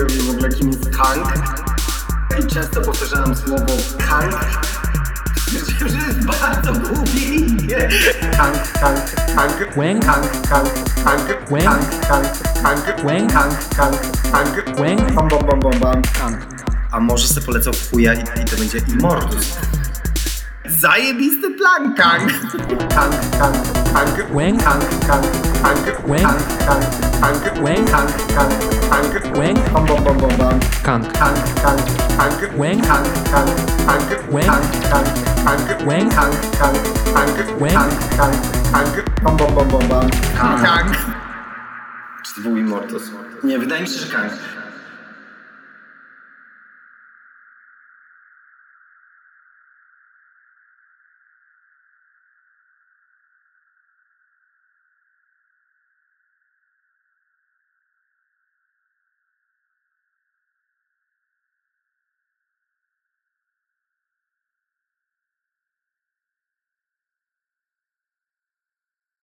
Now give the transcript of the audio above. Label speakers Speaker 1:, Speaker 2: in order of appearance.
Speaker 1: e, Kang i często powtarzałem słowo Kang. Stwierdziłem, że jest bardzo długie imię. Kang, Kang, Kang,
Speaker 2: Wang.
Speaker 1: Kang, Kang, Kang,
Speaker 2: Wang.
Speaker 1: Kang, Kang, Kang,
Speaker 2: Wang.
Speaker 1: Kang, Kang, Kang,
Speaker 2: Wang.
Speaker 1: Bam, bam, bam, bam, bam, Kang. A może se polecą w chuja i, i to będzie Immortus. Zajebisty plan, Kang! Kang, Kang, Kang,
Speaker 2: Wang.
Speaker 1: Kang, Kang, Kang,
Speaker 2: Wang.
Speaker 1: Kang, Kang, Kang,
Speaker 2: Wang.
Speaker 1: Kang, Kang, Kang,
Speaker 2: Wang.
Speaker 1: Bam, bam, bam, bam, bam.
Speaker 2: Kang.
Speaker 1: Kang, Kang, Kang,
Speaker 2: Wang.
Speaker 1: Kang, Kang, Kang,
Speaker 2: Wang.
Speaker 1: Kang, Kang, Kang,
Speaker 2: Wang.
Speaker 1: Kang, Kang, Kang,
Speaker 2: Wang.
Speaker 1: Kang, Kang, Kang, bam, bam, bam, bam, bam. Kang. Czy to był Immortus? Nie, wydaje mi się, że Kang.